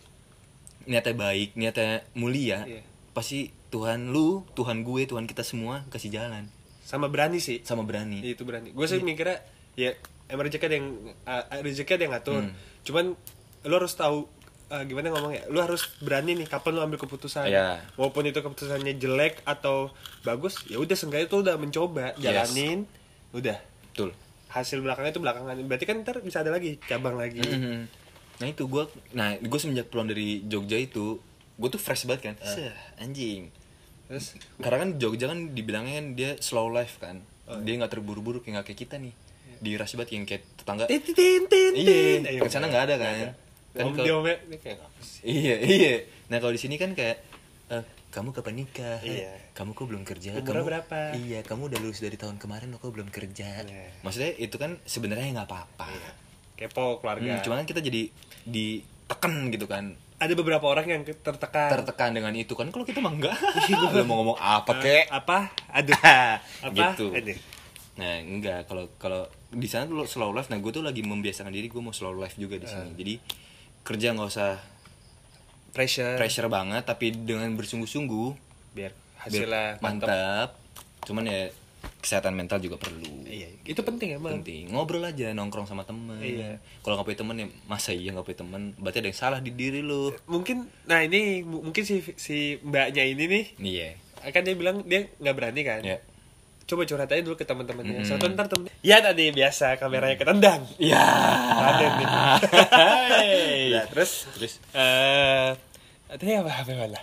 Speaker 2: niatnya baik niatnya mulia
Speaker 1: Iya.
Speaker 2: pasti Tuhan lu Tuhan gue Tuhan kita semua kasih jalan
Speaker 1: Sama berani sih.
Speaker 2: sama berani
Speaker 1: Iya, itu berani. Gue sih mikirnya ya emang rezeki ada yang uh, rezeki ada yang ngatur.
Speaker 2: Hmm.
Speaker 1: Cuman lu harus tahu uh, gimana ngomongnya. Lu harus berani nih kapan lu ambil keputusan.
Speaker 2: Iya.
Speaker 1: Walaupun itu keputusannya jelek atau bagus, ya udah seenggaknya tuh udah mencoba, jalanin, udah.
Speaker 2: betul
Speaker 1: Hasil belakangnya itu belakangan. Berarti kan ntar bisa ada lagi cabang lagi.
Speaker 2: Mhm. Nah itu gue, nah gue semenjak pulang dari Jogja itu, gue tuh fresh banget kan, Seh,
Speaker 1: Iya.
Speaker 2: anjing.
Speaker 1: Terus
Speaker 2: Karena kan Jogja kan dibilangnya kan dia slow life kan,
Speaker 1: Oh, iya.
Speaker 2: dia nggak terburu-buru kayak nggak kayak kita nih, di rush banget yang kayak tetangga.
Speaker 1: tin tin tin tin.
Speaker 2: Iya,
Speaker 1: Ayo,
Speaker 2: ke sana nggak ada kan. Kan
Speaker 1: Om
Speaker 2: kalau-
Speaker 1: dia omnya, dia kayak apa sih?
Speaker 2: Iya iya. Nah kalau di sini kan kayak eh, kamu kapan nikah?
Speaker 1: Iya.
Speaker 2: Kamu kok belum kerja?
Speaker 1: Umurnya
Speaker 2: kamu
Speaker 1: berapa?
Speaker 2: Iya, kamu udah lulus dari tahun kemarin lo kok belum kerja?
Speaker 1: Iya.
Speaker 2: Maksudnya itu kan sebenarnya nggak apa-apa.
Speaker 1: Kepo
Speaker 2: Hmm,
Speaker 1: keluarga.
Speaker 2: cuman kan kita jadi diteken gitu kan
Speaker 1: ada beberapa orang yang tertekan.
Speaker 2: tertekan dengan itu kan kalau kita mah
Speaker 1: [laughs]
Speaker 2: enggak gue belum mau ngomong apa
Speaker 1: Eh,
Speaker 2: kek
Speaker 1: apa aduh Iya. Ah. apa
Speaker 2: [laughs]
Speaker 1: Eh,
Speaker 2: gitu
Speaker 1: Aduh.
Speaker 2: nah enggak kalau kalau di sana tuh slow life nah gue tuh lagi membiasakan diri gue mau slow life juga di
Speaker 1: Ah.
Speaker 2: sini jadi kerja nggak usah
Speaker 1: pressure,
Speaker 2: pressure banget tapi dengan bersungguh-sungguh
Speaker 1: biar
Speaker 2: biar
Speaker 1: hasilnya mantap
Speaker 2: mantap cuman ya kesehatan mental juga perlu
Speaker 1: iya itu penting emang
Speaker 2: penting ngobrol aja nongkrong sama temen
Speaker 1: Iya.
Speaker 2: kalau nggak punya temen ya masa iya nggak punya temen berarti ada yang salah di diri lu
Speaker 1: mungkin nah ini mu- mungkin si si mbaknya ini nih
Speaker 2: iya
Speaker 1: kan dia bilang dia nggak berani kan
Speaker 2: Iya. Hmm.
Speaker 1: coba curhat aja dulu ke teman-temannya Suatu ntar temen ya tadi biasa kameranya ketendang
Speaker 2: Ya.
Speaker 1: Ada nih.
Speaker 2: [laughs] Nah, terus terus
Speaker 1: eh tadi apa apa mana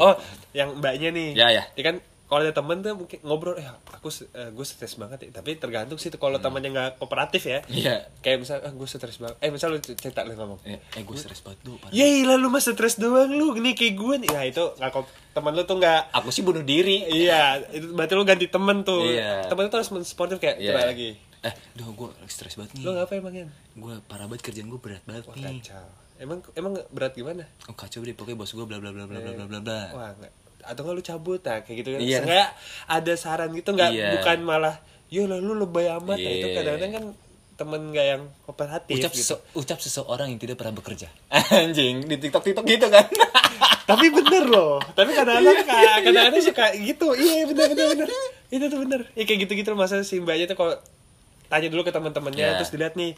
Speaker 1: oh yang mbaknya nih
Speaker 2: Ya, ya.
Speaker 1: Dia kan kalau ada temen tuh mungkin ngobrol eh aku eh, gue stres banget ya tapi tergantung sih kalau
Speaker 2: Hmm.
Speaker 1: temannya nggak kooperatif ya
Speaker 2: Iya.
Speaker 1: kayak misal ah, gue stres banget eh misal lu cerita lu ngomong
Speaker 2: Eh, gue stres banget lu. Pak.
Speaker 1: Yeay lah lu mas stres doang lu Ini kayak gue nih Ya itu nggak kok Temen lu tuh nggak
Speaker 2: Aku sih bunuh diri.
Speaker 1: Iya itu Berarti lu ganti temen tuh
Speaker 2: Iya.
Speaker 1: Temen lu tuh harus mensportif kayak
Speaker 2: Iya. Hmm.
Speaker 1: Coba lagi
Speaker 2: Eh, duh gue stres banget
Speaker 1: Lu
Speaker 2: nih.
Speaker 1: ngapa emangnya?
Speaker 2: Gue parah banget kerjaan gue berat banget
Speaker 1: Wah
Speaker 2: nih.
Speaker 1: kacau Emang emang berat gimana?
Speaker 2: Oh, kacau deh pokoknya bos gue bla bla bla bla bla bla bla bla.
Speaker 1: Wah nggak Atau nggak lu cabut nah, Kayak gitu kan
Speaker 2: Iya.
Speaker 1: Seenggaknya ada saran gitu nggak
Speaker 2: Iya.
Speaker 1: Bukan malah Yo lah lu lebay amat Nah, Itu
Speaker 2: Iya.
Speaker 1: kadang-kadang kan Temen nggak yang kooperatif
Speaker 2: Ucap,
Speaker 1: gitu
Speaker 2: sese- ucap seseorang yang tidak pernah bekerja. [laughs] Anjing, di TikTok-TikTok gitu kan. [laughs]
Speaker 1: Tapi bener loh Tapi kadang-kadang
Speaker 2: Iya.
Speaker 1: Kadang-kadang suka gitu Iya bener bener bener Itu tuh bener Ya kayak gitu-gitu loh Masa si mbaknya tuh kalau Tanya dulu ke teman-temannya
Speaker 2: Iya.
Speaker 1: Terus dilihat nih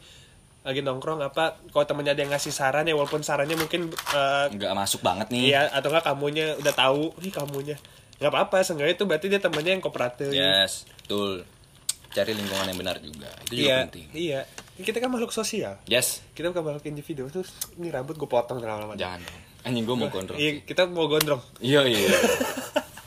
Speaker 1: Lagi nongkrong apa Kalau temennya ada yang ngasih saran ya Walaupun sarannya mungkin eh,
Speaker 2: Nggak masuk banget nih.
Speaker 1: Iya atau enggak kamunya udah tahu Ih kamunya Gak apa-apa Seenggaknya itu berarti dia temennya yang kooperatif
Speaker 2: Yes, betul. Cari lingkungan yang benar juga. Itu juga
Speaker 1: Iya
Speaker 2: penting.
Speaker 1: Iya Kita kan makhluk sosial
Speaker 2: Yes,
Speaker 1: Kita bukan makhluk individu Terus ini rambut gue potong lama-lama
Speaker 2: jangan. dong. Anjing gue mau kontrol.
Speaker 1: Iya kita mau gondrong
Speaker 2: Iya iya.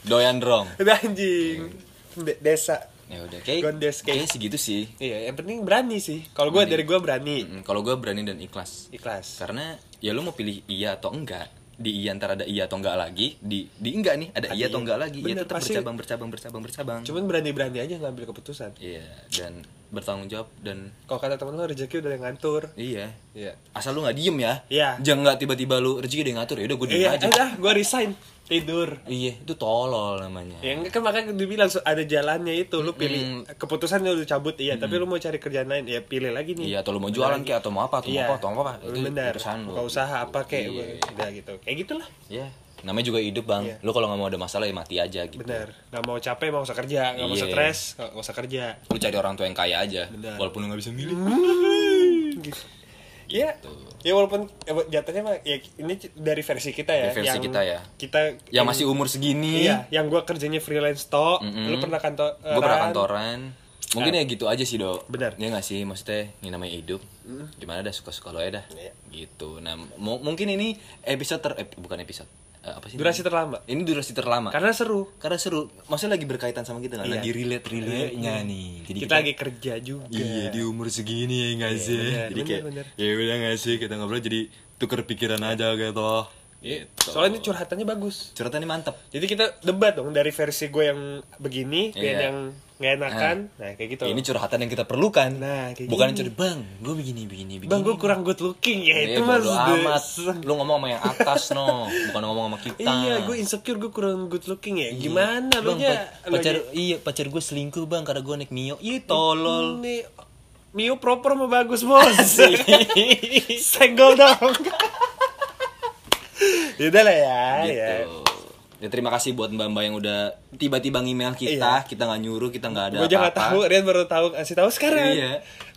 Speaker 2: Doyan drong.
Speaker 1: Udah anjing De- Desa
Speaker 2: Ya udah kayak
Speaker 1: Gondes, kayak-
Speaker 2: kayak segitu sih.
Speaker 1: Iya, yang penting berani sih. Kalau gue dari gue berani,
Speaker 2: Mm, Kalau gue berani dan ikhlas.
Speaker 1: ikhlas.
Speaker 2: Karena ya lu mau pilih iya atau enggak. Di iya ntar ada iya atau enggak lagi. Di di enggak nih ada iya atau enggak lagi.
Speaker 1: Bener,
Speaker 2: ya tetap
Speaker 1: pasti-
Speaker 2: bercabang bercabang bercabang bercabang.
Speaker 1: Cuman berani-berani aja ngambil keputusan.
Speaker 2: Iya dan bertanggung jawab dan
Speaker 1: Kalau kata temen lo rezeki udah yang ngatur.
Speaker 2: iya.
Speaker 1: Iya.
Speaker 2: Asal lu nggak diem ya.
Speaker 1: Iya.
Speaker 2: Jangan nggak tiba-tiba lu rezeki dia yang ngatur ya udah gue diem
Speaker 1: Iya,
Speaker 2: aja.
Speaker 1: eh, dah, gue resign tidur.
Speaker 2: Iya itu tolol namanya.
Speaker 1: Ya enggak, kan makanya dibilang so- ada jalannya itu lu pilih keputusan lu udah cabut iya, tapi lu mau cari kerjaan lain ya pilih lagi nih. Iya.
Speaker 2: Iya atau lu mau jualan kayak atau mau apa atau mau apa atau mau apa itu
Speaker 1: benar.
Speaker 2: urusan lu.
Speaker 1: Buka usaha apa kayak
Speaker 2: Iya.
Speaker 1: udah gitu. Kayak gitulah.
Speaker 2: Iya. Namanya juga hidup bang.
Speaker 1: Iya.
Speaker 2: Lu kalau nggak mau ada masalah ya mati aja gitu.
Speaker 1: Bener. Gak mau capek, mau usah kerja, gak mau
Speaker 2: Iya.
Speaker 1: stres, gak gak usah
Speaker 2: [laughs]
Speaker 1: kerja.
Speaker 2: Lu cari orang tua yang kaya aja.
Speaker 1: Benar.
Speaker 2: Walaupun lu nggak bisa milih.
Speaker 1: Gitu. Iya. Ya walaupun ya, jatuhnya mah ya ini c- dari versi kita ya.
Speaker 2: Dari versi kita ya.
Speaker 1: Kita
Speaker 2: Ya masih umur segini.
Speaker 1: Iya, yang gua kerjanya freelance to, lu pernah kantor eh,
Speaker 2: Gue pernah kantoran. Mungkin
Speaker 1: Iya.
Speaker 2: ya gitu aja sih dok.
Speaker 1: Benar.
Speaker 2: Ya nggak sih maksudnya ini namanya hidup. Gimana dah suka-suka lo ya dah.
Speaker 1: Iya.
Speaker 2: Gitu. Nah mu- mungkin ini episode ter eh, bukan episode Eh, apa sih?
Speaker 1: Durasi terlama.
Speaker 2: namanya? Ini durasi terlama. Karena,
Speaker 1: Karena seru.
Speaker 2: seru. Maksudnya lagi berkaitan sama kita nggak?
Speaker 1: Iya.
Speaker 2: Lagi relate relate nya nih. Jadi
Speaker 1: Kita lagi kerja juga.
Speaker 2: Iya di umur segini ya nggak sih.
Speaker 1: benar,
Speaker 2: jadi
Speaker 1: benar,
Speaker 2: kayak
Speaker 1: benar.
Speaker 2: ya udah nggak sih kita ngobrol jadi tuker pikiran aja gitu.
Speaker 1: Iya,
Speaker 2: Gitu.
Speaker 1: Soalnya ini curhatannya bagus.
Speaker 2: Curhatannya mantep.
Speaker 1: Jadi kita debat dong dari versi gue yang begini, dia
Speaker 2: Iya. Ah.
Speaker 1: yang nggak enakan. Nah, kayak gitu.
Speaker 2: Ini curhatan yang kita perlukan.
Speaker 1: Nah, kayak
Speaker 2: Bukan curhat bang, gue begini begini begini.
Speaker 1: Bang, gue kurang good looking ya
Speaker 2: Eh,
Speaker 1: itu mas.
Speaker 2: bodo amat. Lu ngomong sama yang atas no, bukan ngomong sama kita. Iya.
Speaker 1: Iya, gue insecure, gue kurang good looking ya. Gimana lu
Speaker 2: bang,
Speaker 1: nya?
Speaker 2: pa- pacar iya pacar gue selingkuh bang karena gue naik mio. Ih tolol.
Speaker 1: Ini Mio proper mau bagus bos. [laughs] Senggol dong. [laughs] Yaudah lah ya. ya.
Speaker 2: Gitu. Ya terima kasih buat mbak mbak yang udah tiba-tiba ngemail kita, kita nggak nyuruh, kita nggak ada
Speaker 1: Gue aja Iya. nggak tahu,
Speaker 2: apa-apa.
Speaker 1: Rian baru tahu kasih tahu sekarang.
Speaker 2: Iya.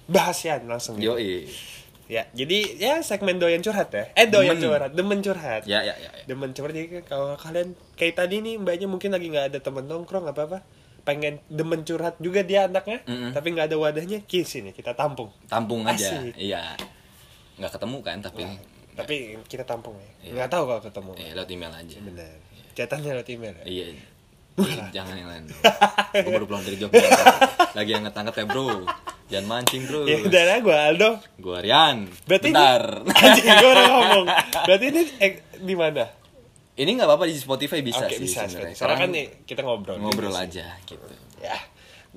Speaker 1: Bahasian langsung. ya.
Speaker 2: Yoi.
Speaker 1: Ya, jadi ya segmen doyan curhat ya. Eh doyan
Speaker 2: Demen.
Speaker 1: curhat, demen curhat.
Speaker 2: Ya ya ya. ya.
Speaker 1: Demen curhat jadi kalau kalian kayak tadi nih mbaknya mungkin lagi nggak ada temen nongkrong apa apa pengen demen curhat juga dia anaknya
Speaker 2: Mm-mm.
Speaker 1: tapi nggak ada wadahnya kiss ini kita tampung
Speaker 2: Tampung aja.
Speaker 1: Asik.
Speaker 2: Iya. Nggak ketemu kan tapi
Speaker 1: tapi kita tampung ya nggak tahu kalau ketemu
Speaker 2: eh, lewat email aja.
Speaker 1: bener catatannya lewat email ya?
Speaker 2: Iya. Ih, Jangan yang lain. Gue baru pulang
Speaker 1: [laughs]
Speaker 2: dari Jogja. Lagi yang ngetangkep ya bro. Jangan mancing bro.
Speaker 1: ya udah lah gue Aldo
Speaker 2: Gue Rian.
Speaker 1: berarti
Speaker 2: Bentar. [laughs]
Speaker 1: ini [laughs] anjing gue udah ngomong berarti ini eh, di mana
Speaker 2: Ini nggak apa-apa di Spotify bisa
Speaker 1: oke
Speaker 2: sih
Speaker 1: bisa sekarang
Speaker 2: sebenarnya.
Speaker 1: kan
Speaker 2: Sekarang
Speaker 1: nih kita ngobrol
Speaker 2: ngobrol aja gitu.
Speaker 1: ya uh,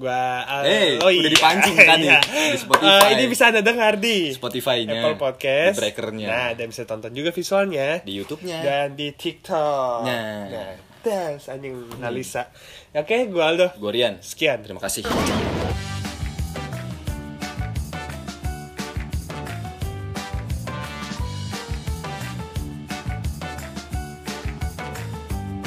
Speaker 1: gue Aldo
Speaker 2: Eh, udah dipancing kan ya, di Spotify.
Speaker 1: iya. Eh, ini bisa anda dengar di
Speaker 2: Spotify-nya,
Speaker 1: Apple Podcast
Speaker 2: di Breaker-nya.
Speaker 1: nah dan bisa tonton juga visualnya
Speaker 2: Di YouTube-nya.
Speaker 1: dan di TikTok
Speaker 2: Nah.
Speaker 1: nah das anjing analisa oke gue Aldo
Speaker 2: Gue Rian.
Speaker 1: sekian
Speaker 2: Terima kasih.